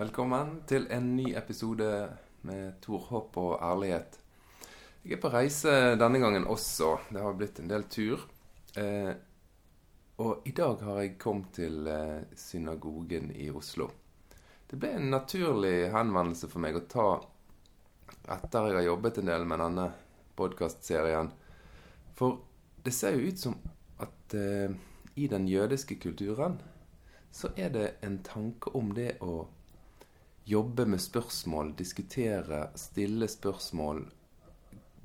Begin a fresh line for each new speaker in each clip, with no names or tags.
Velkommen til en ny episode med Tor Håp og ærlighet. Jeg er på reise denne gangen også. Det har blitt en del tur. Eh, og i dag har jeg kommet til eh, synagogen i Oslo. Det ble en naturlig henvendelse for meg å ta etter jeg har jobbet en del med denne podkastserien. For det ser jo ut som at eh, i den jødiske kulturen så er det en tanke om det å jobbe med spørsmål, diskutere, stille spørsmål,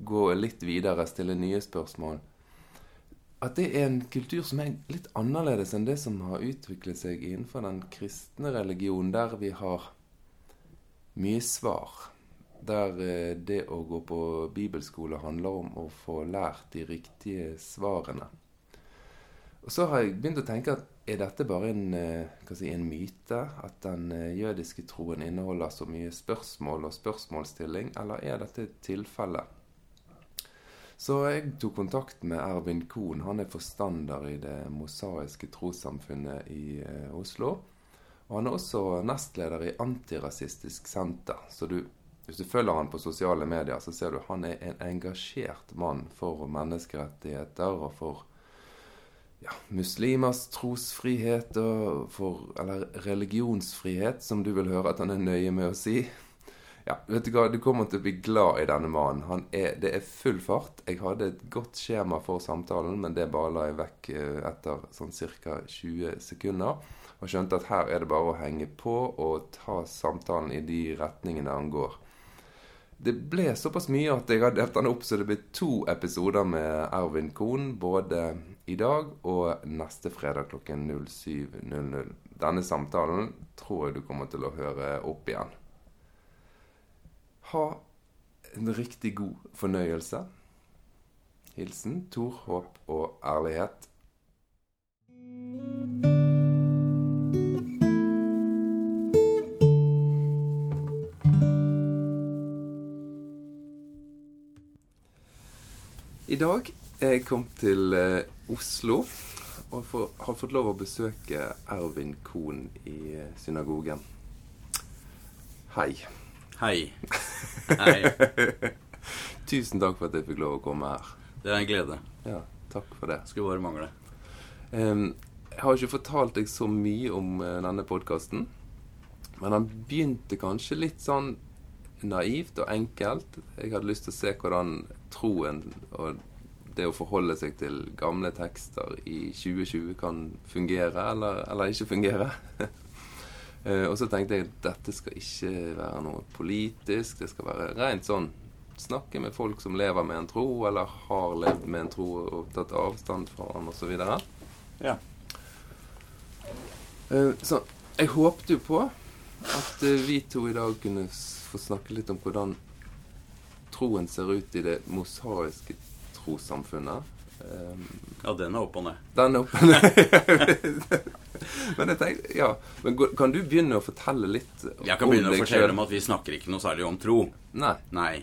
gå litt videre, stille nye spørsmål. At det er en kultur som er litt annerledes enn det som har utviklet seg innenfor den kristne religionen, der vi har mye svar. Der eh, det å gå på bibelskole handler om å få lært de riktige svarene. Og så har jeg begynt å tenke at er dette bare en, eh, hva skal jeg si, en myte? At den eh, jødiske troen inneholder så mye spørsmål og spørsmålsstilling, eller er dette tilfellet? Så jeg tok kontakt med Ervin Kohn. Han er forstander i Det mosaiske trossamfunnet i eh, Oslo. Og han er også nestleder i Antirasistisk Senter. Så du, hvis du følger han på sosiale medier, så ser du han er en engasjert mann for menneskerettigheter og for ja, muslimers trosfrihet og for, eller religionsfrihet, som du vil høre at han er nøye med å si. Ja, vet du hva, du kommer til å bli glad i denne mannen. Han er, det er full fart. Jeg hadde et godt skjema for samtalen, men det bare la jeg vekk eh, etter sånn ca. 20 sekunder. Og skjønte at her er det bare å henge på og ta samtalen i de retningene han går. Det ble såpass mye at jeg har delt den opp, så det blir to episoder med Ervin Kohn. Både i dag og neste fredag klokken 07.00. Denne samtalen tror jeg du kommer til å høre opp igjen. Ha en riktig god fornøyelse. Hilsen Tor Håp og Ærlighet. I dag er jeg kommet til eh, Oslo og får, har fått lov å besøke Ervin Kohn i eh, synagogen. Hei.
Hei. Hei.
Tusen takk for at jeg fikk lov å komme her.
Det er en glede.
Ja, takk for det.
Skulle bare mangle.
Ehm, jeg har ikke fortalt deg så mye om eh, denne podkasten, men han begynte kanskje litt sånn naivt og enkelt. Jeg hadde lyst til å se hvordan troen og det å forholde seg til gamle tekster i 2020 kan fungere eller, eller ikke fungere. Eh, og så tenkte jeg at dette skal ikke være noe politisk, det skal være rent sånn Snakke med folk som lever med en tro, eller har levd med en tro og tatt avstand fra den osv.
Ja.
Eh, Så jeg håpte jo på at eh, vi to i dag kunne s- få snakke litt om hvordan troen ser ut i det mosaiske trossamfunnet. Eh,
ja, den er opp og ned.
Den er oppe Men jeg tenkte, ja Men gå- kan du begynne å fortelle litt om
Jeg kan begynne å
deg
fortelle
selv?
om at vi snakker ikke noe særlig om tro.
Nei.
Nei.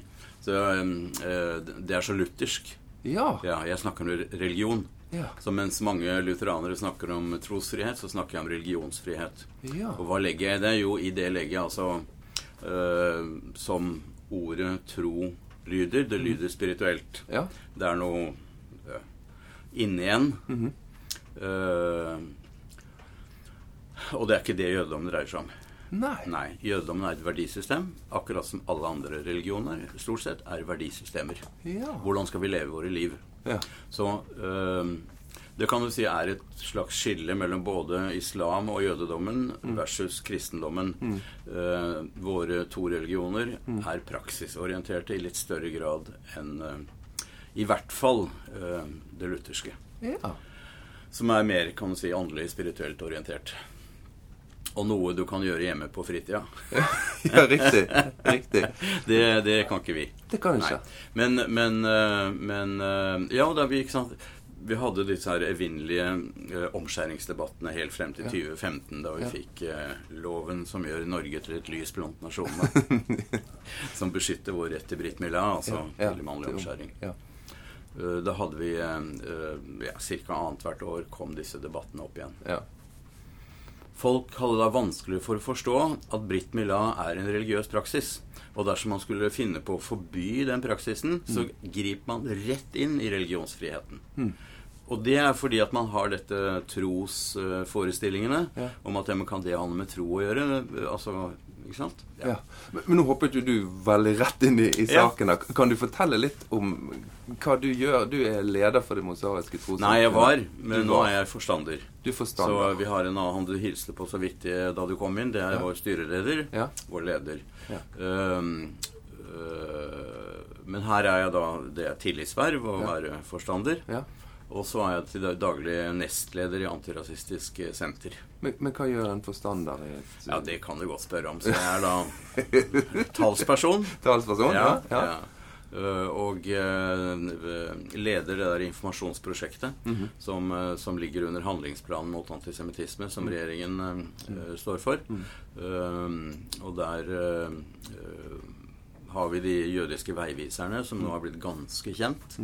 Så, um, eh, det er så luthersk.
Ja.
Ja, jeg snakker om re- religion.
Ja.
Så mens mange lutheranere snakker om trosfrihet, så snakker jeg om religionsfrihet.
Ja.
Og hva legger jeg i det? Jo, i det legger jeg altså eh, Som ordet tro lyder. Det lyder spirituelt.
Ja.
Det er noe eh, inni en.
Mhm.
Eh, og det er ikke det jødedommen dreier seg om.
Nei.
Nei, Jødedommen er et verdisystem, akkurat som alle andre religioner stort sett er verdisystemer.
Ja.
Hvordan skal vi leve våre liv?
Ja.
Så eh, det kan du si er et slags skille mellom både islam og jødedommen versus kristendommen. Eh, våre to religioner er praksisorienterte i litt større grad enn eh, i hvert fall eh, det lutherske.
Ja.
Som er mer kan du si, åndelig spirituelt orientert. Og noe du kan gjøre hjemme på fritida.
ja riktig. Riktig.
Det, det kan ikke vi.
Det kan jeg ikke.
Nei. Men, men, eh, men eh, Ja, da vi, ikke sant? vi hadde disse her evinnelige eh, omskjæringsdebattene helt frem til 2015, da vi
Ja.
fikk eh, loven som gjør Norge til et lys blant nasjonene. som beskytter vår rett til Britt Milla, altså
Ja,
til mannlig omskjæring.
Ja.
Eh, Da hadde vi eh, eh, ja, Ca. annethvert år kom disse debattene opp igjen.
ja.
Folk hadde da vanskelig for å forstå at Britt Mila er en religiøs praksis. Og dersom man skulle finne på å forby den praksisen,
Mm.
så griper man rett inn i religionsfriheten. Og det er fordi at man har dette trosforestillingene
Ja.
om at ja, men kan det ha noe med tro å gjøre? Altså, ikke sant?
Ja. Men, men nå hoppet jo du veldig rett inn i, i
Ja.
saken. da. Kan du fortelle litt om hva du gjør? Du er leder for Det mosaiske trossamfunnet.
Nei, jeg var, men
Du
nå
var.
er jeg forstander.
Du
Så
forstander.
vi har en annen du hilste på så vidt eh, da du kom inn. Det er
Ja.
vår styreleder.
Ja.
Vår leder.
Ja.
Ehm, øh, men her er jeg da Det er tillitsverv å
Ja.
være forstander.
Ja.
Og så er jeg til da- daglig nestleder i Antirasistisk eh, Senter.
Men, men hva gjør en forstander i et
Ja, det kan du godt spørre om. Så jeg er da talsperson.
talsperson? Ja. ja.
ja. Eh, Og eh, leder det der informasjonsprosjektet som, eh, som ligger under handlingsplanen mot antisemittisme, som regjeringen eh, eh, står for. Eh, og der eh, eh, har vi de jødiske veiviserne, som nå har blitt ganske kjent.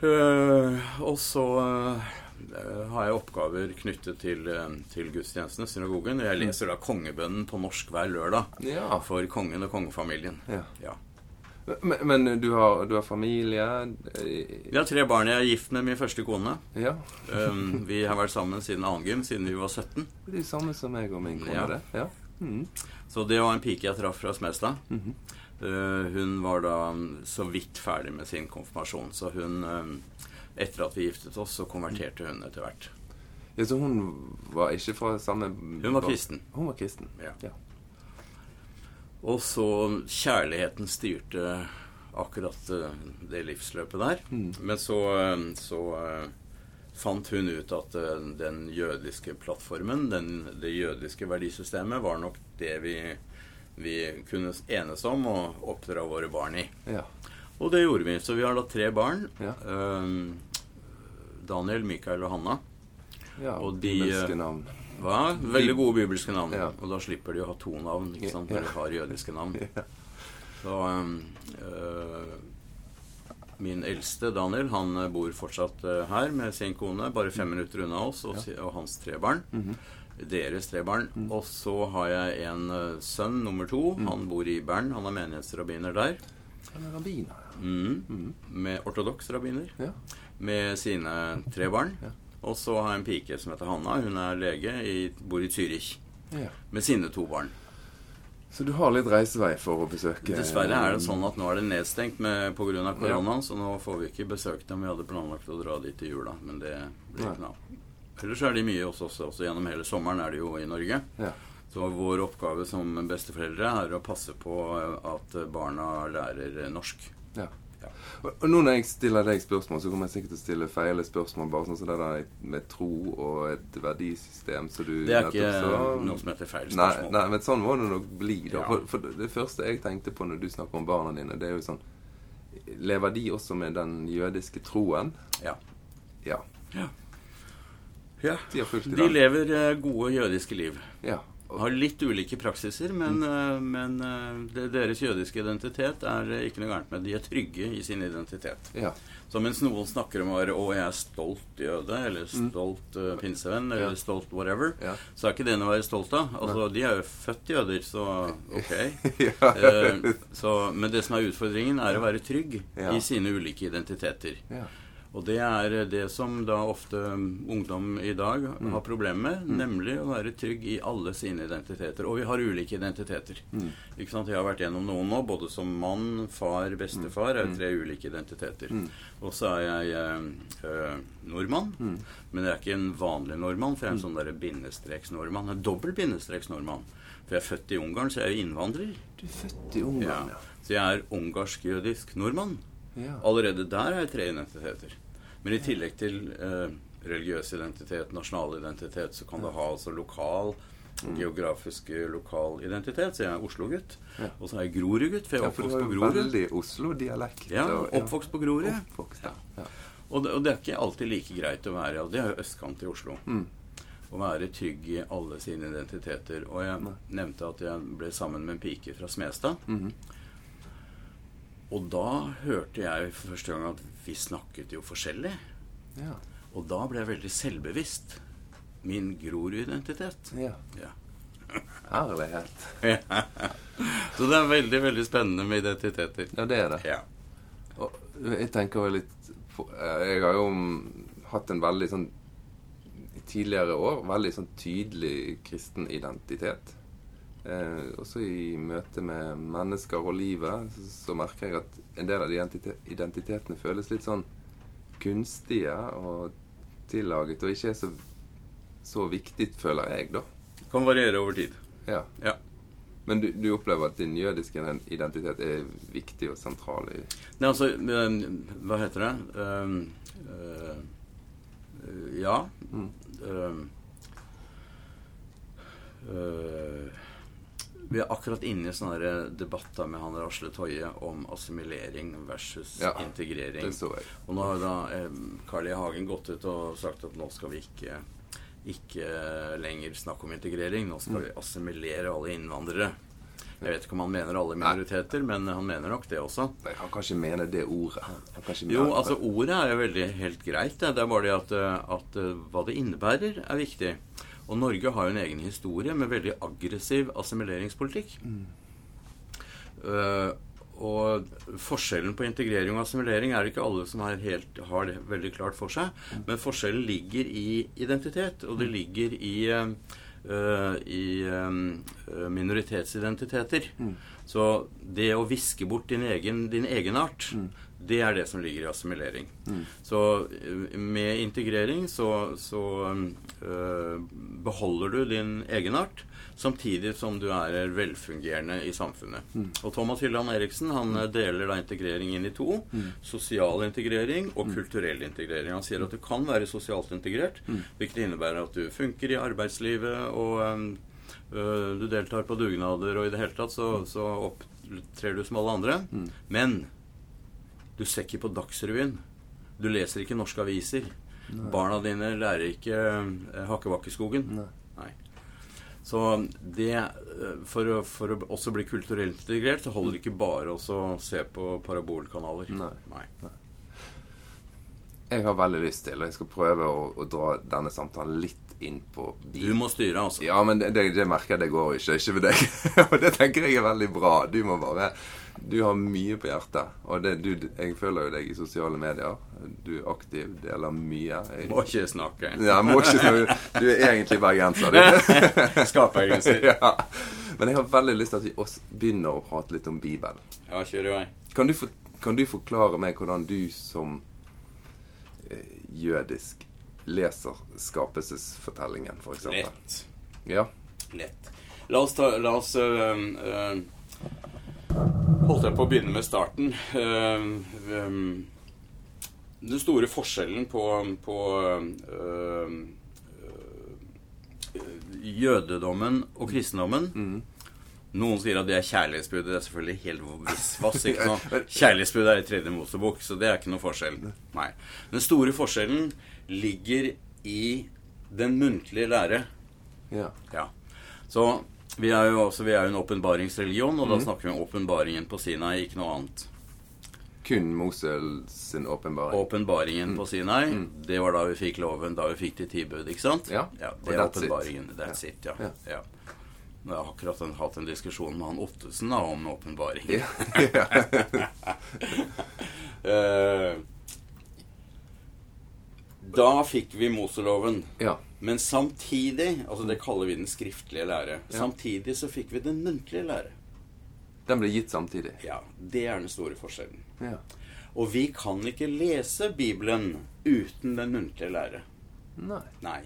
Eh, og så eh, har jeg oppgaver knyttet til, eh, til gudstjenestene, synagogen. Jeg leser da kongebønnen på norsk hver lørdag
Ja.
for kongen og kongefamilien.
Ja.
Ja.
Men, men du, har, du har familie eh,
Vi har tre barn. Jeg er gift med min første kone.
Ja.
Um, vi har vært sammen siden annen gym, siden vi var 17.
Det er de samme som meg og min kone.
Ja.
det. Ja. Mm.
Så det var en pike jeg traff fra Smestad. Uh, hun var da um, så vidt ferdig med sin konfirmasjon, så hun um, Etter at vi giftet oss, så konverterte hun etter hvert.
Ja, Så hun var ikke fra samme
Hun var kristen.
Hun var kristen.
Ja.
Ja.
Og så kjærligheten styrte akkurat eh, det livsløpet der.
Mm.
Men så, eh, så eh, fant hun ut at eh, den jødiske plattformen, den, det jødiske verdisystemet, var nok det vi, vi kunne enes om å oppdra våre barn i.
Ja.
Og det gjorde vi. Så vi har da tre barn.
Ja.
eh, Daniel, Mikael og Hanna.
ja.
Og de,
bibelske
eh,
navn.
Hva? Veldig gode bibelske navn.
Ja.
Og da slipper de å ha to navn, ikke sant,
Ja.
når de har jødiske navn.
Ja.
Så um, øh, min eldste, Daniel, han eh, bor fortsatt eh, her med sin kone, bare fem
Mm.
minutter unna oss, og, si- og hans tre barn.
Mm-hmm.
Deres tre barn.
Mm.
Og så har jeg en eh, sønn, nummer to. Han bor i Bern. Han er menighetsrabbiner der.
Han er rabbiner. ja.
Mhm. Med ortodoks rabbiner.
Mm-hmm. Ja.
Med sine tre barn.
Ja.
Og så har jeg en pike som heter Hanna. Hun er lege, i, bor i Zürich.
ja.
Med sine to barn.
Så du har litt reisevei for å besøke
Dessverre er det sånn at nå er det nedstengt pga. korona,
Eh, Ja.
så nå får vi ikke besøkt dem. Vi hadde planlagt å dra dit til jula, men det blir
Nei.
ikke noe av. Ellers er de mye hos oss også. Gjennom hele sommeren er de jo i Norge.
Ja.
Så vår oppgave som besteforeldre er å passe på eh, at barna lærer norsk.
Ja.
Ja.
Og og nå når jeg stiller deg spørsmål, så kommer jeg sikkert til å stille feile spørsmål. Bare sånn som det der med tro og et verdisystem som du
Det er ikke
nettopp sa.
noe som heter feil
Nei,
spørsmål.
nei, men sånn må det nok bli. da
Ja.
for, for Det første jeg tenkte på når du snakker om barna dine, det er jo sånn Lever de også med den jødiske troen?
Ja.
Ja.
Ja.
De har fulgt i
De
den.
lever eh, gode jødiske liv.
Ja. Og,
Har litt ulike praksiser, men,
Mm.
eh, men eh, det- deres jødiske identitet er eh, ikke noe gærent med. De er trygge i sin identitet.
ja.
Så mens noen snakker om å være 'Å, jeg er stolt jøde', eller 'stolt eh, pinsevenn',
Mm.
eller
Ja.
'stolt whatever',
Ja.
så er ikke det noe å være stolt av. Altså, De er jo født jøder, så ok.
Ja.
Eh, så, men det som er utfordringen, er å være trygg
Ja.
i sine ulike identiteter.
ja.
Og det er det som da ofte ungdom i dag har problemer med, nemlig å være trygg i alle sine identiteter. Og vi har ulike identiteter. Ikke sant? Jeg har vært gjennom noen nå, både som mann, far, bestefar, er tre ulike identiteter. Og så er jeg eh, eh, nordmann, men jeg er ikke en vanlig nordmann, for jeg er en sånn derre bindestreksnordmann. En dobbel bindestreksnordmann. For jeg er født i Ungarn, så jeg er jo innvandrer.
Du er født i Ungarn,
Ja.
ja.
Så jeg er ungarsk-jødisk nordmann.
ja.
Allerede der er jeg tre identiteter. Men i tillegg til eh, religiøs identitet, nasjonal identitet, så kan du ha altså lokal
Mm.
geografisk eh, lokal identitet. Så jeg er Oslo-gutt.
Ja.
Og så er jeg Grorud-gutt, for jeg
Ja,
er
for du har
oppvokst på
jo
Grorud.
veldig Oslo-dialekt.
Ja,
og-
oppvokst på Grorud.
Oppvokst, ja. ja.
Og det, og det er ikke alltid like greit å være og Det er jo østkant i Oslo. Å være trygg i alle sine identiteter. Og jeg nevnte at jeg ble sammen med en pike fra Smestad. Og da hørte jeg for første gang at vi snakket jo forskjellig.
ja.
Og da ble jeg veldig selvbevisst. min Grorud-identitet.
Ja.
Ja.
Herlighet.
Så det er veldig, veldig spennende med identiteter.
Ja, det er det.
Ja.
Og jeg tenker jo litt på, Jeg har jo hatt en veldig sånn i tidligere år veldig sånn tydelig kristen identitet. Eh, også i møte med mennesker og livet så, så merker jeg at en del av de identite- identitetene føles litt sånn kunstige og tillaget, og ikke er så, så viktig, føler jeg, da.
Kan variere over tid.
Ja.
Ja.
Men du, du opplever at din jødiske identitet er viktig og sentral i
Nei, altså eh, Hva heter det? Eh, eh, eh, ja Ehm,
Mm.
Eh, eh, Vi er akkurat inne i sånn sånne her debatter med han Rasle Toje om assimilering versus
Ja,
integrering.
Det så jeg.
Og nå har da eh, Carl I. Hagen gått ut og sagt at nå skal vi ikke ikke lenger snakke om integrering. Nå skal
Mm.
vi assimilere alle innvandrere. Jeg vet ikke om han mener alle
Nei.
minoriteter, men han mener nok det også.
Nei, han kan ikke mene det ordet. Han kan ikke mene
Jo,
det.
altså ordet er jo veldig helt greit. Det Det er bare det at, eh, at eh, hva det innebærer, er viktig. Og Norge har jo en egen historie med veldig aggressiv assimileringspolitikk. Eh, og forskjellen på integrering og assimilering er det ikke alle som er helt, har det veldig klart for seg. Men forskjellen ligger i identitet, og det ligger i, eh, eh, i eh, minoritetsidentiteter. Så det å viske bort din egen, din egenart, det er det som ligger i assimilering. Så eh, med integrering så, så eh, beholder du din egenart, samtidig som du er velfungerende i samfunnet. Og Thomas Hylland Eriksen han eh, deler da integrering inn i to. Sosial integrering og kulturell integrering. Han sier at du kan være sosialt integrert, hvilket innebærer at du funker i arbeidslivet og eh, Øh, Du deltar på dugnader, og i det hele tatt så, så opptrer du som alle andre. Men du ser ikke på Dagsrevyen. Du leser ikke norske aviser. Barna dine lærer ikke eh, Hakkebakkeskogen.
Nei.
Nei. Så det eh, for å, for å også bli kulturelt integrert, så holder det ikke bare også å se på parabolkanaler.
Nei. Jeg har veldig lyst til, og jeg skal prøve å, å dra denne samtalen litt inn på
Du må styre, altså.
Ja, men det, det, det merker jeg det går ikke. Ikke ved deg. Og det tenker jeg er veldig bra. Du må bare Du har mye på hjertet. Og det, du, jeg følger jo deg i sosiale medier. Du er aktiv, deler mye. Jeg,
Må ikke snakke.
ja, jeg må ikke snakke. Du er egentlig bergenser, du.
Skapergrenser.
ja. Men jeg har veldig lyst til at vi også begynner å prate litt om Bibelen.
Ja, kjør i vei.
Kan du, for, kan du forklare meg hvordan du som eh, jødisk leser skapelsesfortellingen, for eksempel?
Lett.
Ja.
lett. La oss ta La oss øhm, øhm, Holdt jeg på å begynne med starten. Øhm, øhm, den store forskjellen på, på eh, øhm, øh, jødedommen og kristendommen Noen sier at det er kjærlighetsbud. Det er selvfølgelig helt visvass. ikke sant? Kjærlighetsbud er i tredje Mosebok, så det er ikke noe forskjell. Nei. Den store forskjellen ligger i den muntlige lære.
ja.
Ja. Så vi er jo, også, vi er jo en åpenbaringsreligion, og
Mm.
da snakker vi om åpenbaringen på Sinai, ikke noe annet.
Kun Mosel sin åpenbaring.
Åpenbaringen
Mm.
på Sinai, det var da vi fikk loven, da vi fikk de ti bud, ikke sant?
Ja.
det
Og
er
that's it.
åpenbaringen. That's it, ja.
Ja.
ja. Jeg har akkurat en, hatt en diskusjon med han Ottesen da, om åpenbaring.
Ja. ja.
Eh, da fikk vi Moseloven.
ja.
Men samtidig, altså det kaller vi den skriftlige lære, samtidig så fikk vi den muntlige lære.
Den ble gitt samtidig.
Ja, det er den store forskjellen.
Ja.
Og vi kan ikke lese Bibelen uten den muntlige lære.
Nei.
Nei.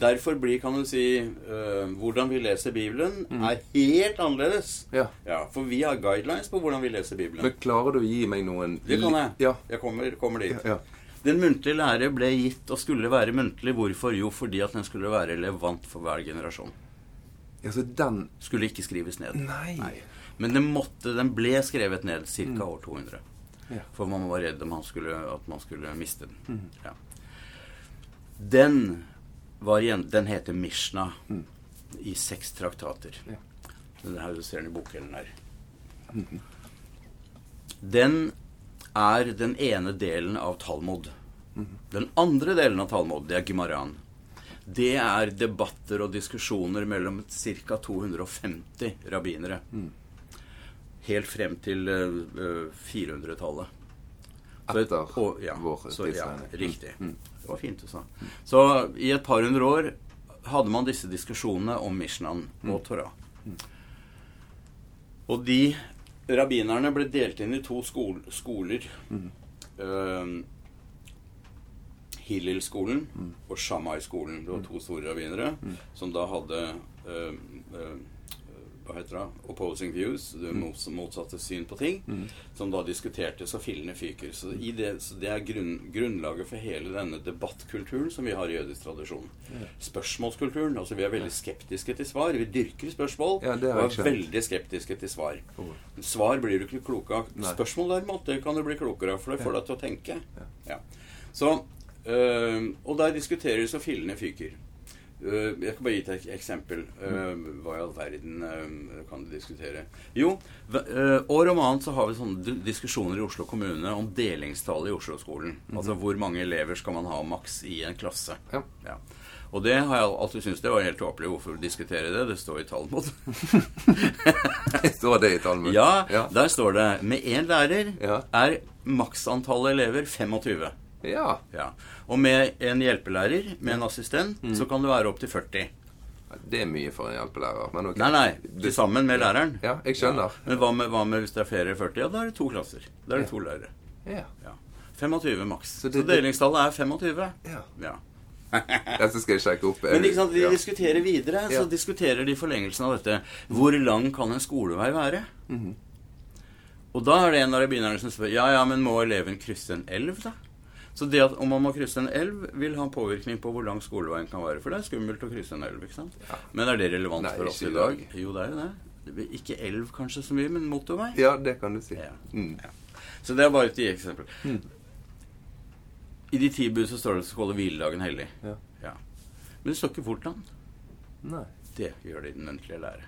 Derfor blir, kan du si, øh, hvordan vi leser Bibelen, er helt annerledes.
Mm. Ja.
Ja, For vi har guidelines på hvordan vi leser Bibelen.
Men klarer du å gi meg noen
Det kan jeg.
Ja.
Jeg kommer, kommer dit.
Ja.
Den muntlige lære ble gitt og skulle være muntlig. Hvorfor? Jo, fordi at den skulle være relevant for hver generasjon.
ja, så den
Skulle ikke skrives ned.
Nei.
Men den, måtte, den ble skrevet ned ca. år 200.
Mm. Ja. Mm.
For man var redd om han skulle, at man skulle miste den. Ja. Den, var, igjen- den heter Mishna i seks traktater.
Mm. Ja.
Den her du ser den i bokhyllen her. Den er den ene delen av Talmud. Den andre delen av Talmud, det er Gimaran. det er debatter og diskusjoner mellom ca. 250 rabbinere. Helt frem til eh, 400-tallet. Så et-
Etter
og- ja,
vår
så, ja,
tidsregning. Mm,
Riktig. Det var fint du sa. Så i et par hundre år hadde man disse diskusjonene om Mishnan og Torah. Og de rabbinerne ble delt inn i to skol skoler. Eh, Hillel-skolen og Shammai-skolen. Det var to store rabbinere som da hadde eh, eh, hva heter det? Opposing views, det
Mm.
mots- motsatte syn på ting, som da diskuterte så fillene fyker. Så, i det, så det er grunn, grunnlaget for hele denne debattkulturen som vi har i jødisk tradisjon. Spørsmålskulturen. altså Vi er veldig skeptiske til svar. Vi dyrker spørsmål
Ja, det har
og
jeg
er
skjønt.
veldig skeptiske til svar. Svar blir du ikke klok av.
Oh. Nei.
Spørsmål derimot, det kan du bli klokere av, for det får deg til å tenke. Ja. Så, øh, Sånn. og der diskuteres så fillene fyker. Øh, jeg kan bare gi deg et eksempel. Øh, hva i all verden øh, kan du diskutere? Jo, hva- øh, år om annet så har vi sånne du- diskusjoner i Oslo kommune om delingstallet i Oslo-skolen. Altså hvor mange elever skal man ha maks i en klasse.
Mhm. Ja.
Ja. Og det har jeg alltid syntes det var helt tåpelig. Hvorfor diskutere det? Det står i Talmud.
Står det i Talmud?
Ja,
Ja.
der står det Med én lærer
Ja.
er maksantallet elever 25.
ja.
Ja. Og med en hjelpelærer, med en assistent, så kan det være opptil 40.
Det er mye for en hjelpelærer. Men ok.
Nei, nei, til sammen med læreren.
Ja, jeg skjønner.
Men hva med, hva med hvis det er flere enn 40? Ja, da er det to klasser. Da er det to lærere.
Ja.
Ja. 25 maks.
Så
Så,
det-
delingstallet er 25.
Ja.
Ja.
Dette skal jeg sjekke opp.
Men ikke sant, de
Ja.
diskuterer videre.
Ja.
Så diskuterer de forlengelsen av dette. Hvor lang kan en skolevei være?
Mhm.
Og da er det en av rabbinerne som spør Ja, ja, men må eleven krysse en elv, da? Så det at om man må krysse en elv, vil ha påvirkning på hvor lang skoleveien kan være. For det er skummelt å krysse en elv, ikke sant? Men er det relevant
Nei,
for oss
ikke
i
i
dag?
dag.
Jo, det er jo det. det blir ikke elv kanskje så mye, men motorvei.
Ja, det kan du si.
Ja.
Mm.
Ja. Så det er bare et eksempel. I de ti bud så står det at du skal holde hviledagen hellig.
Ja.
Ja. Men det står ikke hvordan.
Nei.
Det gjør det i den muntlige lære.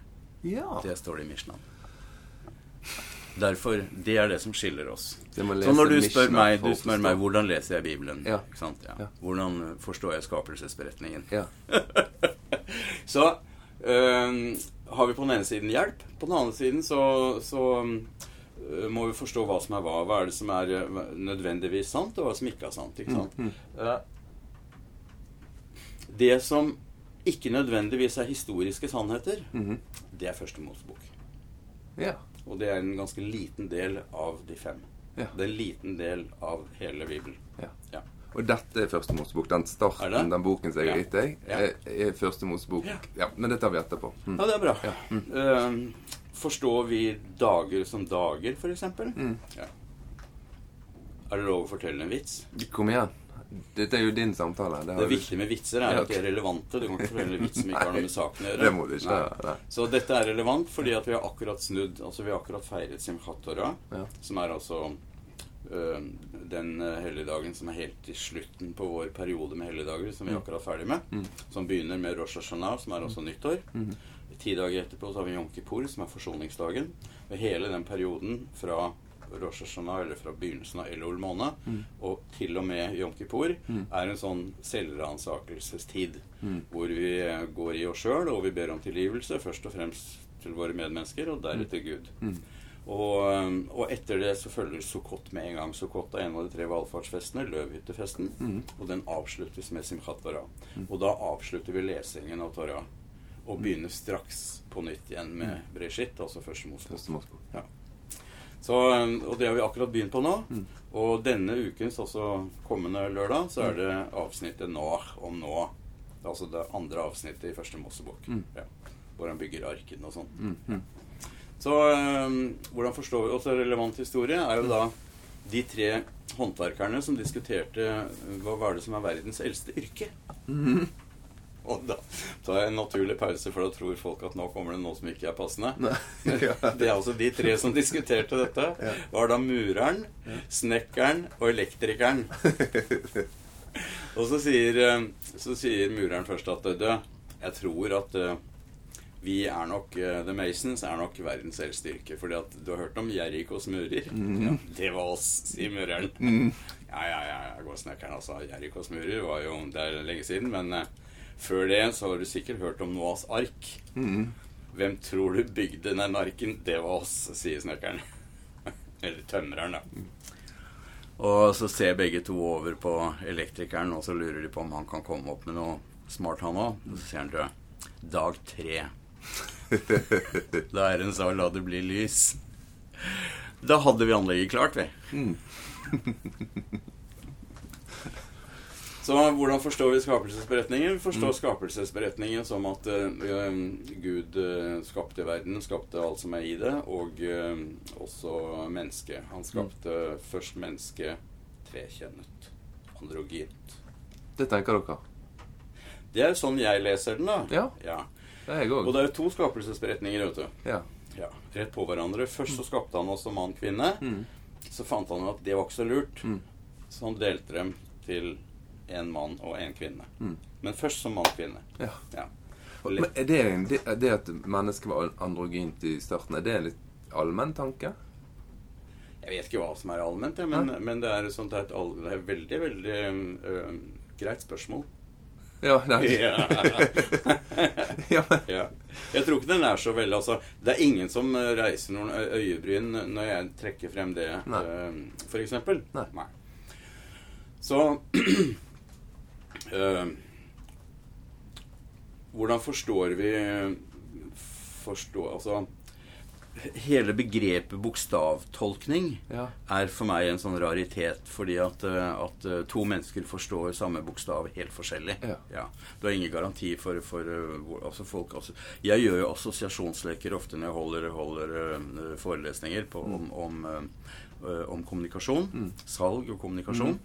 Ja.
Det står det i Mishnan. Derfor, Det er det som skiller oss.
Det må
Så
lese
når du spør,
Mishnah
meg,
for
du
å
spør
forstå.
meg hvordan leser jeg Bibelen
Ja.
ikke sant?
Ja.
Ja. Hvordan eh, forstår jeg skapelsesberetningen?
Ja.
Så øhm, har vi på den ene siden hjelp. På den andre siden så, så øh, må vi forstå hva som er hva. Hva er det som er øh, nødvendigvis sant, og hva som ikke er sant. Ikke sant?
Mm,
Eh, det som ikke nødvendigvis er historiske sannheter,
Mhm.
det er Første Mosebok.
ja.
Og det er en ganske liten del av de fem.
Ja.
Det er en liten del av hele Bibelen.
Ja.
Ja.
Og dette er Første Mosebok. Den
Er
starten,
det?
den boken som jeg har
Ja.
gitt deg,
Ja.
er- er Første Mosebok.
Ja.
Ja, men det tar vi etterpå. Mm.
Ja, det er bra. Eh, forstår vi dager som dager, f.eks.? Mm. Ja. Er det lov å fortelle en vits?
Kom igjen. Dette er jo din samtale. har
Det
du-
viktige med vitser er
Ja,
at de er relevante. Du kan ikke fortelle en vits som ikke har noe med saken å gjøre.
det må du ikke
Nei.
gjøre, nei.
Så dette er relevant fordi at vi har akkurat snudd Altså vi har akkurat feiret Simchat Torah,
Ja.
som er altså øh, den øh, helligdagen som er helt i slutten på vår periode med helligdager, som vi er akkurat ferdig med.
Mhm.
Som begynner med Rosh Hashanah, som er altså nyttår. Ti dager etterpå så har vi Yom Kippur, som er forsoningsdagen. Og hele den perioden fra Rosh Hashanah, eller fra begynnelsen av Elul måned,
Mhm.
og til og med Yom Kippur, er en sånn selvransakelsestid.
Mhm.
Hvor vi eh, går i oss sjøl, og vi ber om tilgivelse, først og fremst til våre medmennesker, og deretter Gud.
Mhm.
Og, eh, og etter det så følger Sukkot med en gang. Sukkot er en av de tre valfartsfestene, løvhyttefesten, og den avsluttes med Simchat Torah. Og da avslutter vi lesingen av Torah, og begynner straks på nytt igjen med Breshit, altså første Mosebok.
Første Mosebok.
Ja. Så, øhm, og det har vi akkurat begynt på nå. Og denne ukens, altså kommende lørdag, så er det avsnittet Noah om Noah. Det er Altså det andre avsnittet i første Mosebok. Ja, hvor han bygger arken og sånn.
Mhm.
Så øhm, hvordan forstår vi også relevant historie? Er jo da de tre håndverkerne som diskuterte øh, hva var det som er verdens eldste yrke.
Mhm.
Og da tar jeg en naturlig pause, for da tror folk at nå kommer det noe som ikke er passende.
Ja.
Det er altså de tre som diskuterte dette. Var da mureren, snekkeren og elektrikeren. Og så sier, eh, så sier mureren først at du, jeg tror at eh, vi er nok eh, The Masons er nok verdens eldste yrke. Fordi at du har hørt om Jerikos murer? Ja, det var oss, sier mureren.
Mm.
Ja, ja, ja, jeg går snekkeren, altså. Jerikos murer var jo Det er lenge siden, men eh, Før det så har du sikkert hørt om Noas ark.
Mm.
Hvem tror du bygde den arken? Det var oss, sier snekkeren. Eller tømreren, da. Og så ser begge to over på elektrikeren, og så lurer de på om han kan komme opp med noe smart, han òg. Og så sier han til dem dag tre. Da Herren sa la det bli lys. Da hadde vi anlegget klart, vi. Så hvordan forstår vi skapelsesberetningen? Vi forstår skapelsesberetningen som at eh, Gud eh, skapte verden, skapte alt som er i det, og eh, også mennesket. Han skapte først mennesket trekjønnet. Androgynt.
Det tenker dere.
Det er sånn jeg leser den, da.
Ja. Det er jeg
Og
òg.
det er jo to skapelsesberetninger, vet du.
Ja.
Ja, Rett på hverandre. Først så skapte han oss som mann-kvinne.
Mm.
Så fant han jo at det var ikke så lurt,
Mm.
så han delte dem til en mann og en kvinne.
Mm.
Men først som mann-kvinne.
ja.
Ja.
Men er det, en- det, er det at mennesket var androgynt i starten, er det en litt allmenn tanke?
Jeg vet ikke hva som er allment, jeg, men, men det er et sånt det er et all- det er et veldig, veldig øhm, greit spørsmål.
Ja, nei.
Ja.
ja, men,
ja. Jeg tror ikke den er så veldig altså, Det er ingen som øh, reiser noen ø- øyebryn når jeg trekker frem det,
Nei.
øhm, for eksempel.
Nei.
Så øhm, Hvordan forstår vi forstår, Altså Hele begrepet bokstavtolkning
ja.
er for meg en sånn raritet, fordi at, eh, at eh, to mennesker forstår samme bokstav helt forskjellig.
Ja.
Du har ingen garanti for, for eh, hvor, altså folk altså, Jeg gjør jo assosiasjonsleker ofte når jeg holder, holder eh, forelesninger på, om, om, eh, eh, om kommunikasjon. Salg og kommunikasjon.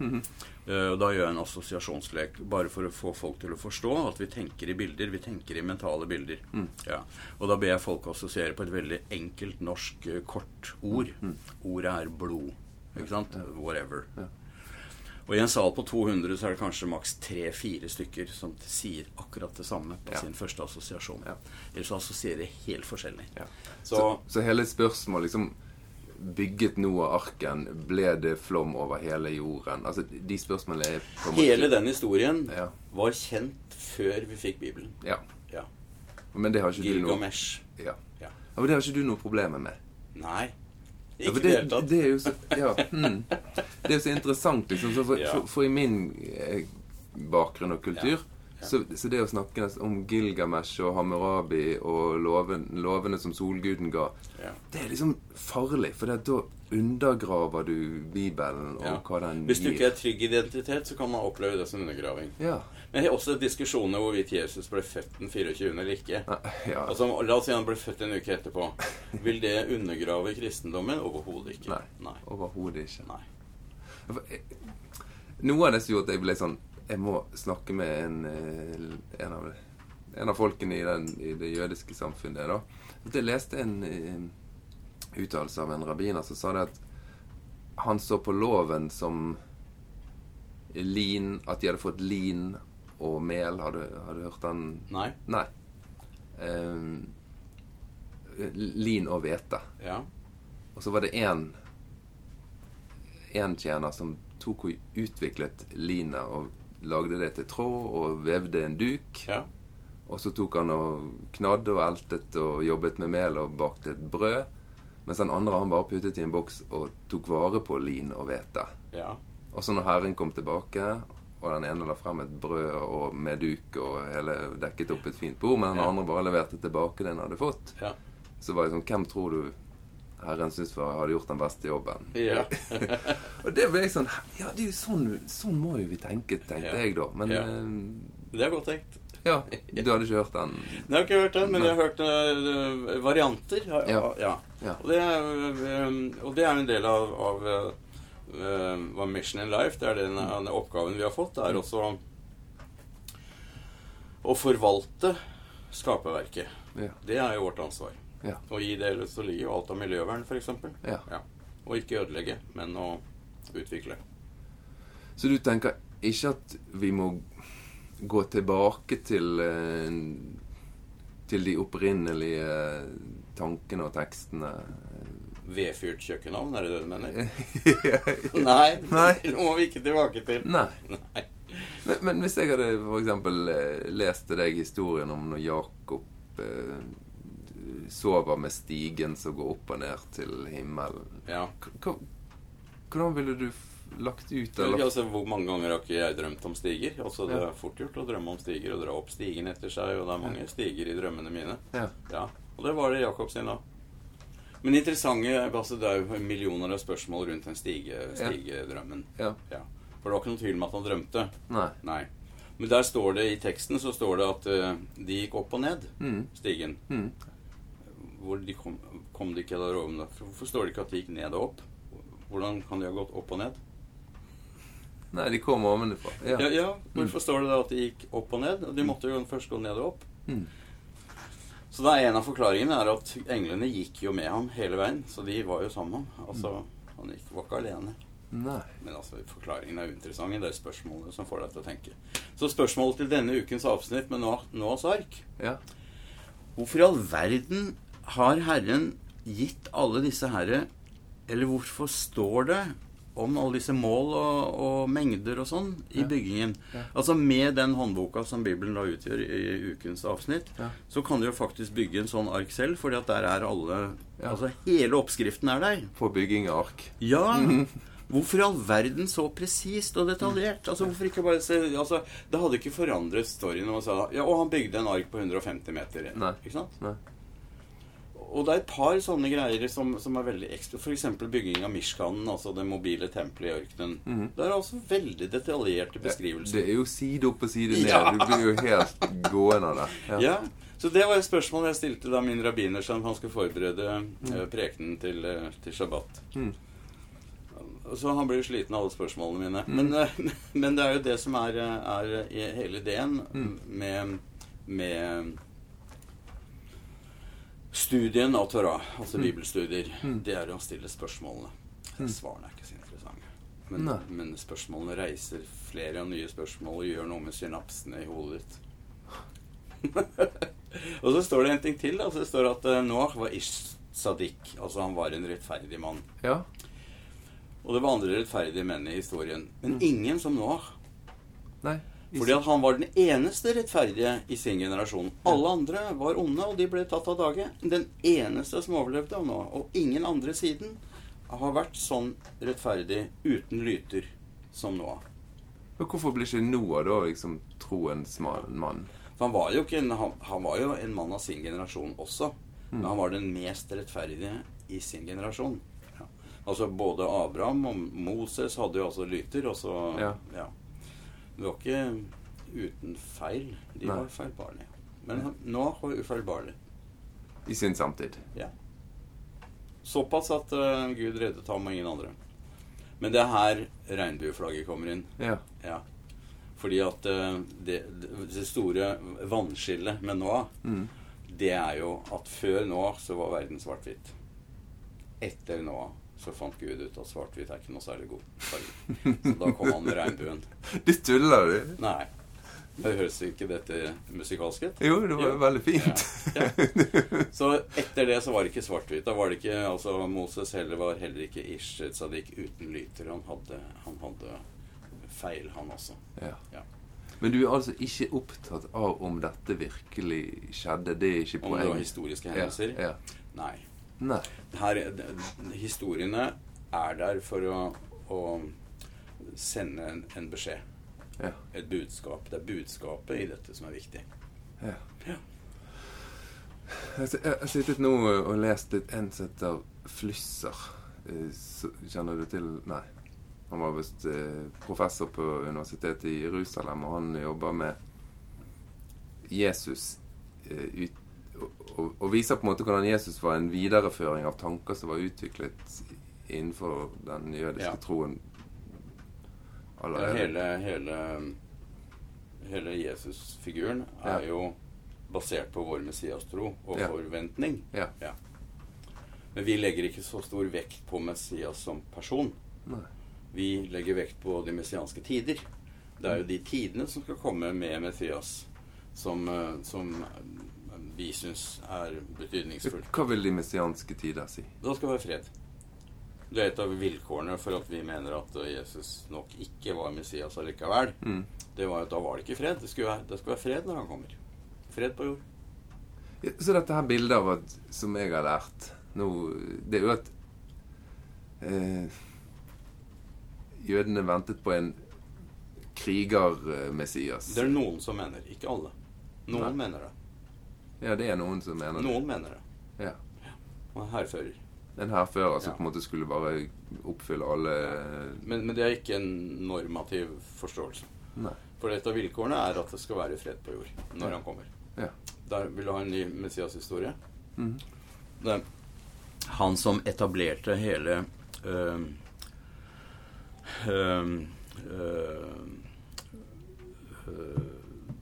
Eh, og da gjør jeg en assosiasjonslek bare for å få folk til å forstå at vi tenker i bilder. Vi tenker i mentale bilder. Ja. Og da ber jeg folk assosiere på et veldig enkelt norsk eh, kort ord. Ordet er blod. Ikke sant? Whatever. Og i en sal på 200 så er det kanskje maks tre-fire stykker som sier akkurat det samme på
Ja.
sin første assosiasjon.
Ja.
Ellers så assosierer de helt forskjellig.
Ja.
Så,
Så, så hele spørsmålet liksom Bygget Noah arken? Ble det flom over hele jorden? Altså, de spørsmålene er på en måte
hele den historien
Ja.
var kjent før vi fikk Bibelen.
Ja.
Ja.
Men det har ikke du noe
Gilgamesh.
ja.
Ja.
ja, men det har ikke du noe problemer med?
Nei.
Ja,
Ikke
for
i det hele
det,
tatt.
det er jo så, ja, hmm. det er jo så interessant, liksom. Så for,
Ja.
for, for i min eh, bakgrunn og kultur Så, så det å snakke nesten om Gilgamesh og Hammurabi og loven, lovene som solguden ga
Ja.
Det er liksom farlig, for det at da undergraver du Bibelen og
Ja.
hva den
Hvis du ikke er trygg identitet, så kan man oppleve det som undergraving.
Ja.
Men jeg har også diskusjoner hvorvidt Jesus ble født den 24. eller ikke.
Nei, ja.
Altså, la oss si han ble født en uke etterpå. Vil det undergrave kristendommen? Overhodet ikke.
Nei.
Nei.
Overhodet ikke.
Nei.
For, eh, Noe av det som gjorde at jeg ble sånn Jeg må snakke med en, eh, en, av, en av folkene i, den, i det jødiske samfunnet. da At Jeg leste en eh, uttalelse av en rabbiner som sa det at han så på loven som lin At de hadde fått lin og mel. Har du, har du hørt den?
Nei.
Nei. Ehm, lin og hvete.
Ja.
Og så var det én En tjener som tok og utviklet linet og lagde det til tråd og vevde en duk.
ja.
Og så tok han og knadde og eltet og jobbet med mel og bakte et brød. Mens den andre han bare puttet i en boks og tok vare på lin og hvete.
Ja.
Og så når herren kom tilbake, og den ene la frem et brød og med duk og hele dekket opp et fint bord, men den
Ja.
andre bare leverte tilbake det han hadde fått,
Ja.
så var det sånn Hvem tror du herren syntes var- hadde gjort den beste jobben?
ja.
Og det ble jeg sånn Ja, det er jo sånn, sånn må jo vi tenke, tenkte
Ja.
jeg da. Men
Ja.
eh,
Det er godt tenkt.
ja. du hadde ikke hørt den?
Jeg har ikke hørt den, men jeg har hørt eh, varianter. Ja.
Ja.
ja.
Ja.
Og, det er, eh, og det er en del av, av eh, hva Mission in Life Det er den, den oppgaven vi har fått. Det er også å forvalte skaperverket.
Ja.
Det er jo vårt ansvar.
Ja.
Og i det hele så ligger jo alt av miljøvern, f.eks.
Ja.
Og ikke ødelegge, men å utvikle.
Så du tenker ikke at vi må gå tilbake til eh, Til de opprinnelige tankene og tekstene?
Vedfyrt kjøkkenovn, er det det du mener?
Eh, Nei.
Nei, det må vi ikke tilbake til. Nei.
Men, men hvis jeg hadde f.eks. lest til deg historien om når Jakob eh, sover med stigen som går opp og ned til himmelen
Ja.
K- hva- Hvordan ville du f- lagt ut det?
Altså, hvor mange ganger har ikke jeg drømt om stiger? Altså, det er fort gjort å drømme om stiger og dra opp stigen etter seg, og det er mange stiger i drømmene mine.
Ja.
Ja, og det var det Jakob sin da. Men interessante altså, Det er jo millioner av spørsmål rundt den stige, stigedrømmen.
ja.
Ja. For det var ikke noen tvil om at han drømte.
Nei.
Nei. Men der står det i teksten så står det at eh, de gikk opp og ned
Mm.
stigen.
Mm.
Hvor de kom, kom de ikke der oven da? Hvorfor står det ikke at de gikk ned og opp? Hvordan kan de ha gått opp og ned?
Nei, de kommer ovenfra. Ja.
Ja, ja. Hvorfor står det da at de gikk opp og ned? De måtte jo først gå ned og opp.
Mm.
Så da er en av forklaringene er at englene gikk jo med ham hele veien. Så de var jo sammen med ham. Altså, han gikk, var ikke alene.
Nei.
Men altså, forklaringen er uinteressant. Det er spørsmålene som får deg til å tenke. Så spørsmålet til denne ukens avsnitt med Noah- Noahs ark
Ja.
Hvorfor i all verden har Herren gitt alle disse herre Eller hvorfor står det om alle disse mål og, og mengder og sånn i
Ja.
byggingen?
Ja.
Altså med den håndboka som Bibelen da utgjør i, i ukens avsnitt,
Ja.
så kan du jo faktisk bygge en sånn ark selv, fordi at der er alle
Ja.
Altså hele oppskriften er der.
På bygging av ark.
Ja! Hvorfor i all verden så presist og detaljert? Altså, hvorfor ikke bare se, altså, Det hadde ikke forandret storyen om man sa ja, og han bygde en ark på 150 meter.
Nei.
Ikke sant?
Nei.
Og det er et par sånne greier som, som er veldig ekstra. F.eks. bygging av Mishkanen, altså det mobile tempelet i ørkenen.
Mhm.
Det er altså veldig detaljerte beskrivelser.
Det er jo side opp og side ned.
Ja.
Du blir jo helt gåen av det.
Ja. Så det var et spørsmål jeg stilte da min rabbiner som han skulle forberede
Mhm.
eh, prekenen til, eh, til shabbat.
Mm.
Så han blir sliten av alle spørsmålene mine.
Mhm.
Men, eh, men det er jo det som er, eh, er i hele ideen
Mhm.
med, med studien av Torah, altså bibelstudier, det er å stille spørsmålene. Svarene er ikke så interessante. Men,
Nei.
men spørsmålene reiser flere og nye spørsmål og gjør noe med synapsene i hodet ditt. og så står det en ting til. Altså det står at eh, Noah var ish sadik. Altså han var en rettferdig mann.
Ja.
Og det var andre rettferdige menn i historien. Men ingen som Noah.
Nei.
Fordi at han var den eneste rettferdige i sin generasjon. Alle andre var onde, og de ble tatt av dage. Den eneste som overlevde var Noah. Og ingen andre siden har vært sånn rettferdig uten lyter som Noah.
Men hvorfor blir ikke Noah da liksom troens mann? mann?
For han var jo, ikke en, han, han var jo en mann av sin generasjon også.
Mm.
Men han var den mest rettferdige i sin generasjon. Ja. Altså både Abraham og Moses hadde jo altså lyter, og så
Ja.
Det var ikke uten feil. De
Nei.
var feilbarlige. Men han- nå var ufeilbarlig.
I sin samtid.
Ja. Såpass at eh, Gud reddet ham og ingen andre. Men det er her regnbueflagget kommer inn.
Ja.
Ja. Fordi at eh, det, det store vannskillet med Noah,
Mm.
det er jo at før Noah så var verden svart-hvitt. Etter Noah så fant Gud ut at svart-hvitt er ikke noe særlig god farge. Så da kom han med regnbuen.
Du tuller, du?
Nei. Det høres jo ikke dette musikalsk ut?
Jo, det var jo
Jo.
veldig fint.
Ja. Så etter det så var det ikke svart-hvitt. Da var det ikke altså Moses heller var heller ikke ish sadik uten lyter. Han hadde, han hadde feil, han også.
Ja.
Ja.
Men du er altså ikke opptatt av om dette virkelig skjedde? Det er ikke
Om det var
poenget?
historiske
Ja,
hendelser?
ja.
Nei.
Nei.
Her, d- historiene er der for å, å sende en, en beskjed.
Ja.
Et budskap. Det er budskapet i dette som er viktig.
Ja.
Ja.
Jeg s- jeg har sittet nå og lest litt en som heter Flusser. Eh, så- Kjenner du til Nei. Han var visst eh, professor på universitetet i Jerusalem, og han jobber med Jesus eh, ut, og, og- og viser på en måte hvordan Jesus var en videreføring av tanker som var utviklet innenfor den jødiske
Ja.
troen
Ja,
allerede.
hele hele, hele Jesus-figuren
Ja.
er jo basert på vår Messias-tro og
Ja.
forventning.
Ja.
Men vi legger ikke så stor vekt på Messias som person.
Nei.
Vi legger vekt på de messianske tider. Det er jo de tidene som skal komme med Messias, som, eh, som eh, vi syns er betydningsfullt.
Hva vil de messianske tider si?
Da skal det være fred. Det er et av vilkårene for at vi mener at eh, Jesus nok ikke var Messias allikevel.
Mm.
Det var jo at da var det ikke fred. Det skulle, være, det skulle være fred når han kommer. Fred på jord.
Ja, Så dette her bildet av at, som jeg har lært nå, det er jo at eh, jødene ventet på en kriger-messias.
Det er noen som mener. Ikke alle. Noen mener det.
Ja, det er noen som mener det.
Noen mener det.
Ja.
Og en hærfører.
En hærfører som
Ja.
altså, på en måte skulle bare oppfylle alle eh,
Men, men det er ikke en normativ forståelse.
Nei.
For et av vilkårene er at det skal være fred på jord når han kommer.
Ja.
Der vil du ha en ny Messias-historie. Mm.
Mhm.
Det er han som etablerte hele øhm, øhm, øhm, øh,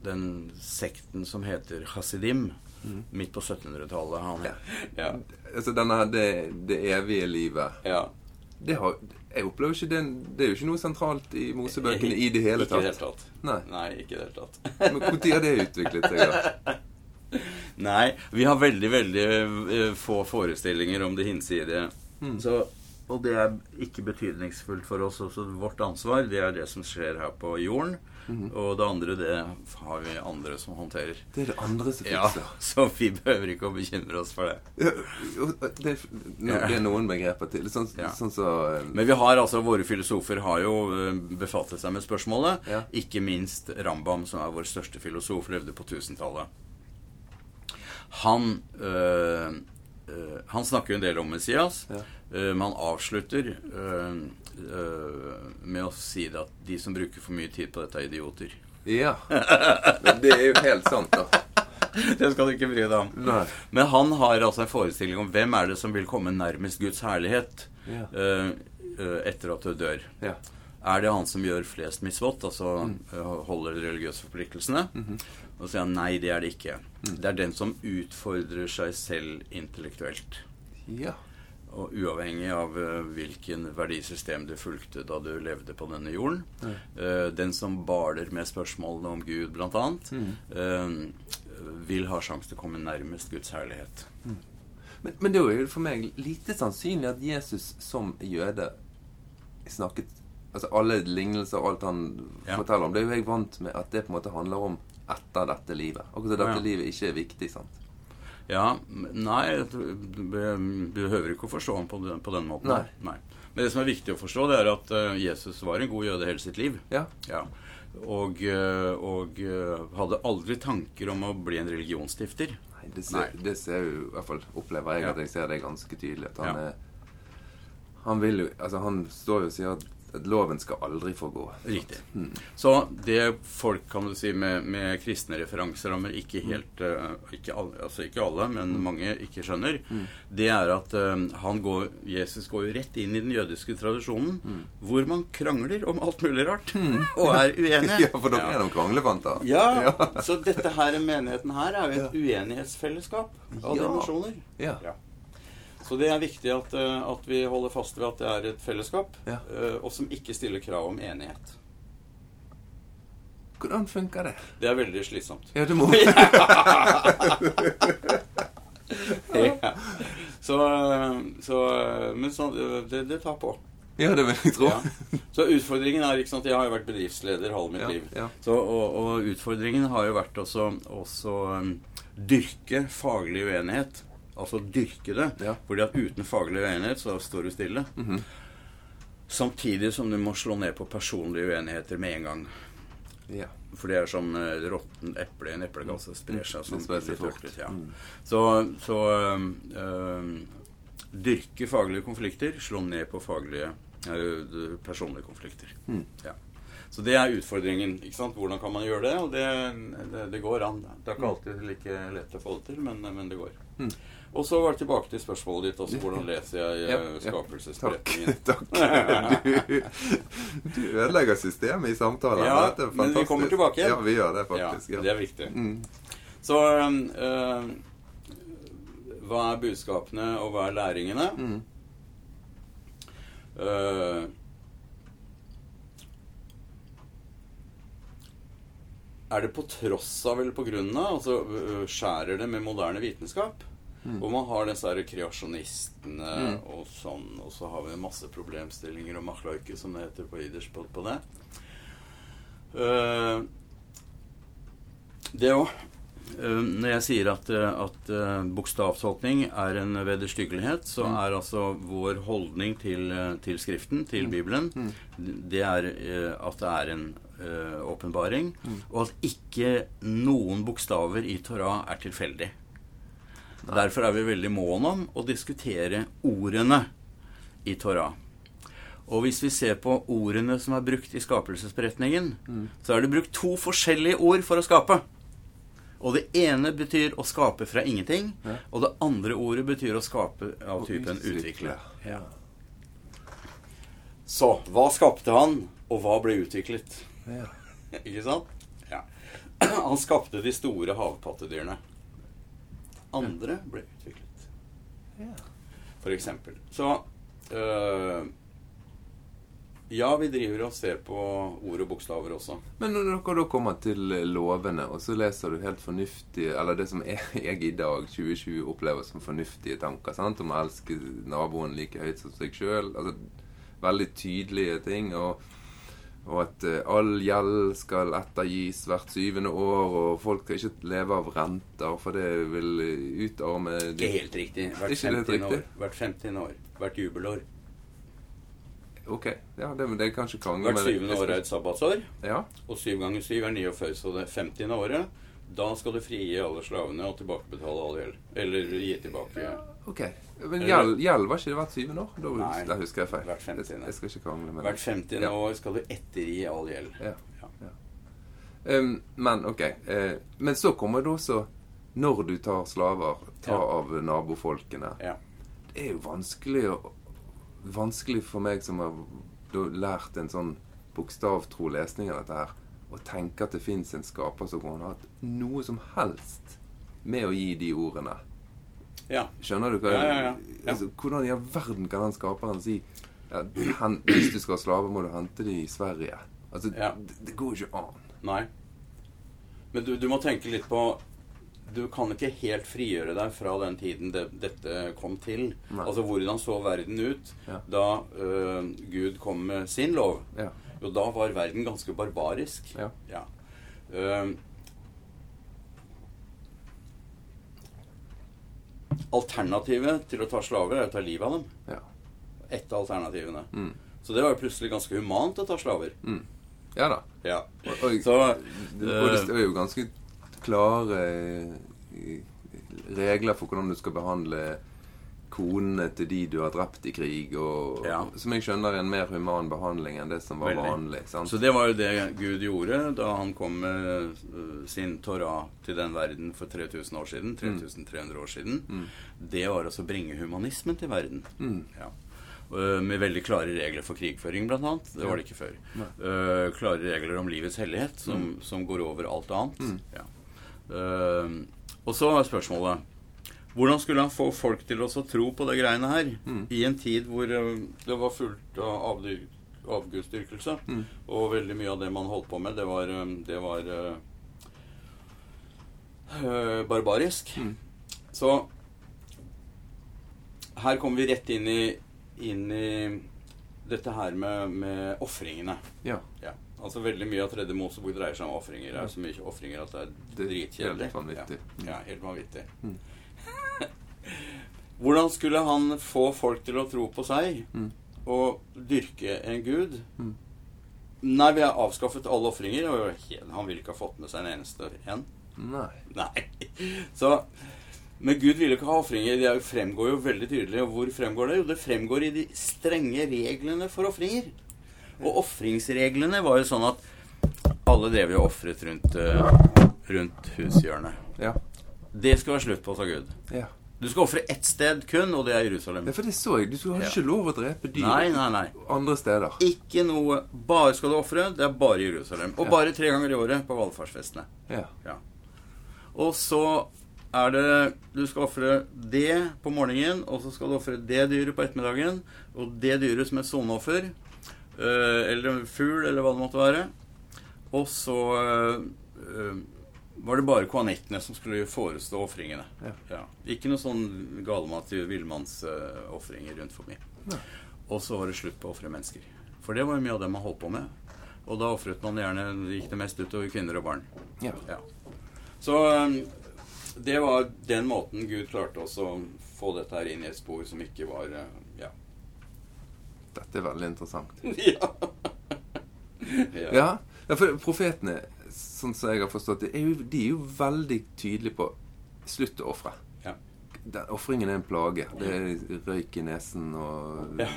Den sekten som heter Hasidim,
Mm.
midt på 1700-tallet. Han, ja.
Altså denne her, det, det evige livet
ja.
det har, Jeg opplever ikke den Det er jo ikke noe sentralt i Mosebøkene i det hele
Ikke i
tatt.
det hele tatt.
Nei.
Nei, ikke i det hele tatt.
Men når har det utviklet seg, da?
Nei, vi har veldig, veldig eh, få forestillinger om det hinsidige. Så, og det er ikke betydningsfullt for oss. Også vårt ansvar det er det som skjer her på jorden. Og det andre, det har vi andre som håndterer.
Det er det andre som
Ja,
fikser.
Så vi behøver ikke å bekymre oss for det.
Ja, og det, er- no, det er noen begreper til. Sånn som
Ja.
sånn, så, eh,
Men vi har altså, våre filosofer har jo eh, befattet seg med spørsmålet.
Ja.
Ikke minst Rambam, som er vår største filosof, levde på 1000-tallet. Han, øh, øh, han snakker jo en del om Messias,
Ja.
øh, men han avslutter øh, øh, med å si det at de som bruker for mye tid på dette, er idioter.
Ja. Men det er jo helt sant, da.
Det skal du ikke bry deg om.
Nei.
Men han har altså en forestilling om hvem er det som vil komme nærmest Guds herlighet
Ja.
øh, øh, etter at du dør.
Ja.
Er det han som gjør flest misvått, altså øh, holder de religiøse forpliktelsene? Og så sier han nei, det er det ikke. Det er den som utfordrer seg selv intellektuelt.
ja.
Og uavhengig av øh, hvilken verdisystem du fulgte da du levde på denne jorden. øh, den som baler med spørsmålene om Gud, blant annet, øh, vil ha sjanse til å komme nærmest Guds herlighet.
Men, men det er jo for meg lite sannsynlig at Jesus som jøde snakket Altså alle lignelser og alt han
Ja.
forteller om, det er jo jeg vant med at det på en måte handler om etter dette livet. Akkurat som dette
Ja.
livet ikke er viktig, sant?
Ja, m- Nei, jeg tror- du be- du behøver ikke å forstå ham på den, på den måten.
Nei.
Men det som er viktig å forstå, det er at eh, Jesus var en god jøde hele sitt liv.
Ja.
Ja. Og, eh, og eh, hadde aldri tanker om å bli en religionsstifter.
Nei, det ser,
Nei.
Det ser jo, i hvert fall opplever jeg
Ja.
at jeg ser det ganske tydelig. At han
Ja.
er Han vil jo Altså, han står jo og sier at, at loven skal aldri forgå.
Riktig.
Mm.
Så det folk kan du si med, med kristne referanser om, ikke helt
Mm.
eh, ikke alle, altså ikke alle, men mange ikke skjønner,
Mm.
det er at eh, han går, Jesus går jo rett inn i den jødiske tradisjonen,
Mm.
hvor man krangler om alt mulig rart og Hmm. er uenige.
Ja, for dere er noen kranglefanter.
Ja, så dette her, menigheten her er jo et uenighetsfellesskap av
Ja.
dimensjoner.
Ja.
Ja. Så det er viktig at, eh, at vi holder fast ved at det er et fellesskap,
Ja.
eh, og som ikke stiller krav om enighet.
Hvordan funker det?
Det er veldig slitsomt.
Ja, du må
Ja. Så, eh, så, eh, men sånn, eh, det, det tar på.
Ja, det vil jeg tro.
Ja. Så utfordringen er ikke sant, Jeg har jo vært bedriftsleder halve mitt
Ja,
liv.
ja.
Så, og, og utfordringen har jo vært også, også um, dyrke faglig uenighet. Altså dyrke det.
Ja. Mhm.
Fordi at uten faglig uenighet så står du stille. Samtidig som du må slå ned på personlige uenigheter med en gang.
Ja.
For det er som eh, råttent eple i en eplekasse sprer seg som
Mm. det sprer seg
litt
fort. Mm.
hurtig, Ja. Så, så um, um, dyrke faglige konflikter, slå ned på faglige eh, d- personlige konflikter.
Mm.
Ja. Så det er utfordringen. ikke sant? Hvordan kan man gjøre det? Og det, det, det går an. Det er
Mm.
ikke alltid like lett å få det til, men, men det går. Og så var det tilbake til spørsmålet ditt. altså Hvordan leser jeg
Ja,
eh,
ja. Takk.
skapelsesberetningen?
Takk. Du, du ødelegger systemet i samtaler.
Ja,
Dette er
men vi
fantastisk.
kommer tilbake igjen.
Ja, vi gjør det faktisk.
Ja,
Ja.
det er viktig. Så um, eh, hva er budskapene, og hva er læringene? Eh, eh, er det på tross av eller på grunn av? Altså øh, skjærer det med moderne vitenskap? Hvor man har disse her kreasjonistene og sånn, og så har vi masse problemstillinger og machlaike, som det heter på jiddisch på, på det. Eh, det òg. når jeg sier at, eh, at eh, bokstavtolkning er en vederstyggelighet, så er altså vår holdning til, eh, til Skriften, til Bibelen, det er eh, at det er en eh, åpenbaring, og at ikke noen bokstaver i Torah er tilfeldig. Derfor er vi veldig mån om å diskutere ordene i Torah. Og hvis vi ser på ordene som er brukt i skapelsesberetningen, så er det brukt to forskjellige ord for å skape. Og det ene betyr å skape fra ingenting,
Ja.
og det andre ordet betyr å skape av
Og
typen
utvikle.
utvikle. Ja. Så hva skapte han, og hva ble utviklet?
Ja.
Ikke sant? Ja. Han skapte de store havpattedyrene. Andre ble utviklet.
Ja.
For eksempel. Så øh, Ja, vi driver og ser på ord og bokstaver også.
Men når dere da kommer til eh, lovene, og så leser du helt fornuftige Eller det som jeg, jeg i dag, 2020, opplever som fornuftige tanker. sant? Om å elske naboen like høyt som seg sjøl. Altså, veldig tydelige ting. og og at eh, all gjeld skal ettergis hvert syvende år, og folk skal ikke leve av renter, for det vil eh, utarme
Ikke helt riktig. Hvert
Ikke helt
15. år.
riktig.
Hvert 15. år. Hvert jubelår.
Ok, ja, det, men det kan ikke krangle
Hvert
med det.
syvende år er et sabbatsår.
Ja,
Og syv ganger syv er 49, så det 50. året. Da skal du frigi alle slavene og tilbakebetale all gjeld. Eller gi tilbake.
ok. Men gjeld, gjeld var ikke det hvert syvende år? Da,
Nei,
da husker jeg feil. jeg,
hvert femtiende.
jeg skal ikke krangle med det.
Hvert 50.
Ja.
år skal du ettergi all gjeld.
Ja.
Ja.
Um, men ok. eh, men så kommer det også Når du tar slaver, ta
Ja.
av nabofolkene.
Ja.
Det er jo vanskelig å Vanskelig for meg som har da lært en sånn bokstavtro lesning av dette her, å tenke at det fins en skaper som kan ha hatt noe som helst med å gi de ordene.
ja.
Skjønner du hva
Ja, ja, ja. Ja.
Altså, Hvordan i all verden kan han skaperen si ja, hen, Hvis du skal ha slaver, må du hente de i Sverige. Altså,
Ja.
det, det går jo ikke an.
Nei. Men du, du må tenke litt på Du kan ikke helt frigjøre deg fra den tiden det, dette kom til.
Nei.
Altså hvordan så verden ut
Ja.
da øh, Gud kom med sin lov?
Ja.
Jo, da var verden ganske barbarisk.
Ja.
Ehm, alternativet til å ta slaver er å ta livet av dem.
Ja.
Et av alternativene.
Mm.
Så det var jo plutselig ganske humant å ta slaver.
ja da.
Ja.
Og, og,
Så eh,
Det- Og det står jo ganske klare eh, regler for hvordan du skal behandle konene til de du har drept i krig, og
Ja.
som jeg skjønner er en mer human behandling enn det som var
Veldig.
vanlig. sant?
Så det var jo det Gud gjorde da han kom med eh, sin Torah til den verden for 3000 år siden. 3300 år siden. Det var altså å bringe humanismen til verden. Ja. Eh, Med veldig klare regler for krigføring, blant annet. Det var det ikke før.
Mm.
Eh, klare regler om livets hellighet, som, som går over alt annet. Ja. Eh, og så er spørsmålet hvordan skulle han få folk til også å tro på det greiene her? I en tid hvor eh, det var fullt av avdyr- avgudsdyrkelse.
Mm.
Og veldig mye av det man holdt på med, det var, eh, det var eh, eh, barbarisk.
Mm.
Så her kommer vi rett inn i, inn i dette her med, med ofringene.
ja,
Ja. Altså Veldig mye av Tredje Mosebok dreier seg om ofringer. Det er så mye ofringer at det
Det
er
er
dritkjedelig.
helt vanvittig.
Ja. ja, helt vanvittig.
Mm.
Hvordan skulle han få folk til å tro på seg
Mm.
og dyrke en gud?
Mm.
Nei, vi har avskaffet alle ofringer. og he- Han ville ikke ha fått med seg en eneste en.
Mm. Nei.
Nei. Så Men Gud ville ikke ha ofringer. Det er jo- fremgår jo veldig tydelig. Og hvor fremgår det? Jo, det fremgår i de strenge reglene for ofringer. Og ofringsreglene var jo sånn at alle drev jo og ofret rundt, eh, rundt hushjørnet.
Ja.
Det skal være slutt på, sa Gud.
ja.
Du skal ofre ett sted kun, og det er Jerusalem.
Ja, for det så jeg. Du hadde
Ja.
ikke lov å drepe dyr
Nei, nei, nei.
andre steder.
Ikke noe Bare skal du ofre. Det er bare Jerusalem. Og
Ja.
bare tre ganger i året på valfartsfestene.
Ja.
Ja. Og så er det Du skal ofre det på morgenen, og så skal du ofre det dyret på ettermiddagen, og det dyret som et soneoffer, eh, eller en fugl, eller hva det måtte være. Og så eh, eh, var det bare koanittene som skulle forestå ofringene.
Ja.
Ikke noe sånn galmat til villmannsofringer rundt forbi.
Nei.
Og så var det slutt på å ofre mennesker. For det var jo mye av det man holdt på med. Og da ofret man gjerne Det gikk det mest utover kvinner og barn.
Ja.
Ja. Så um, det var den måten Gud klarte også å få dette her inn i et spor som ikke var uh, Ja.
Dette er veldig interessant.
ja. ja.
Ja, ja for profetene, sånn som jeg har forstått det, er jo, de er jo veldig tydelige på slutt å ofre.
Ja.
Den- Ofringen er en plage. Det er røyk i nesen og
Ja.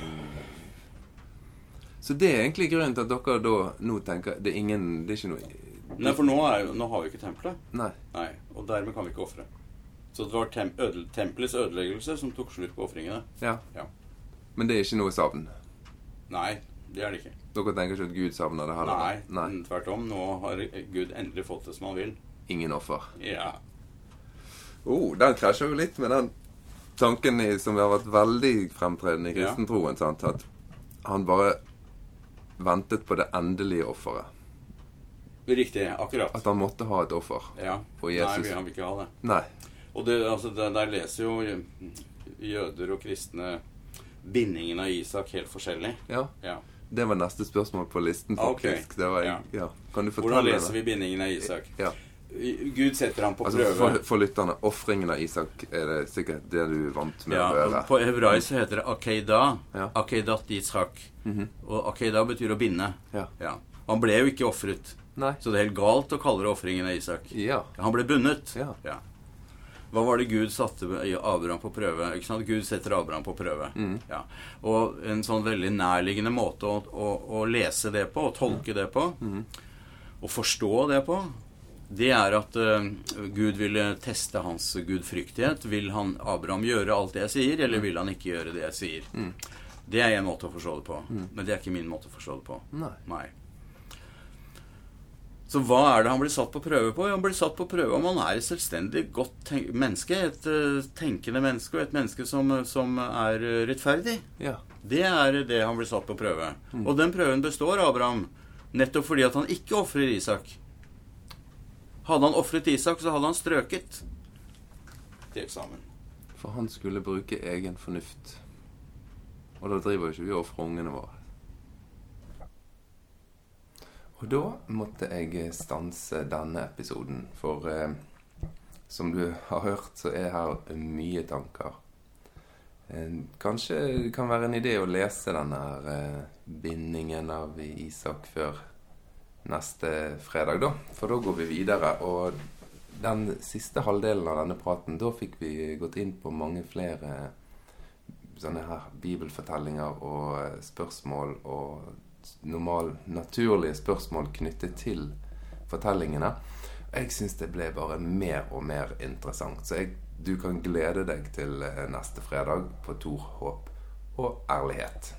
Så det er egentlig grunnen til at dere da nå tenker Det er ingen Det er ikke noe
Nei, for nå, er, jo- nå har vi ikke tempelet.
Nei.
Nei, og dermed kan vi ikke ofre. Så det var tem ødel- tempelets ødeleggelse som tok slutt på ofringene.
Ja.
Ja.
Men det er ikke noe savn?
Nei, det er det ikke.
Dere tenker ikke at Gud savner det
Nei,
heller? Nei.
tvert om. Nå har Gud endelig fått det som han vil.
Ingen offer?
Ja.
Oh, den krasjer jo litt med den tanken i, som har vært veldig fremtredende i
Ja.
kristentroen. Sant? At han bare ventet på det endelige offeret.
Riktig. Akkurat.
At han måtte ha et offer.
Ja.
Og
Nei,
Jesus-
vi- han vil ikke ha det.
Nei.
Og det, altså, der, der leser jo jøder og kristne bindingen av Isak helt forskjellig.
Ja.
Ja.
Det var neste spørsmål på listen,
Ah, Ok.
faktisk. Det var,
Ja.
ja. Kan du fortelle
Hvordan leser
det?
vi bindingen av Isak?
Ja.
Gud setter ham på
Altså, for,
prøve.
for lytterne, ofringen av Isak er det sikkert det du vant med å
Ja,
høre.
på hebraisk så heter det akeida.
Ja. Mhm.
Akeidat Isak. Og akeida betyr å binde.
Ja.
Ja. Han ble jo ikke ofret,
Nei.
så det er helt galt å kalle det ofringen av Isak.
Ja.
Han ble bundet.
Ja.
Hva var det Gud satte i Abraham på prøve? Ikke sant? Gud setter Abraham på prøve. Ja. Og en sånn veldig nærliggende måte å, å, å lese det på, å tolke det på, å forstå det på, det er at eh, Gud ville teste hans gudfryktighet. Vil han Abraham gjøre alt det jeg sier, eller vil han ikke gjøre det jeg sier? Det er en måte å forstå det på, men det er ikke min måte å forstå det på.
Nei.
Nei. Så hva er det han blir satt på prøve på? Jo, Han blir satt på prøve om han er et selvstendig godt ten- menneske. Et eh, tenkende menneske, og et menneske som, som er eh, rettferdig.
Ja.
Det er det han blir satt på prøve. Og den prøven består Abraham nettopp fordi at han ikke ofrer Isak. Hadde han ofret Isak, så hadde han strøket til eksamen.
For han skulle bruke egen fornuft. Og da driver jo ikke vi og ofrer ungene våre. Og da måtte jeg stanse denne episoden, for eh, som du har hørt, så er her mye tanker. Eh, kanskje det kan være en idé å lese denne her eh, bindingen av Isak før neste fredag, da. For da går vi videre. Og den siste halvdelen av denne praten, da fikk vi gått inn på mange flere sånne her bibelfortellinger og eh, spørsmål og normal, naturlige spørsmål knyttet til fortellingene. Jeg syns det ble bare mer og mer interessant. Så jeg, du kan glede deg til eh, neste fredag på Tor Håp og ærlighet.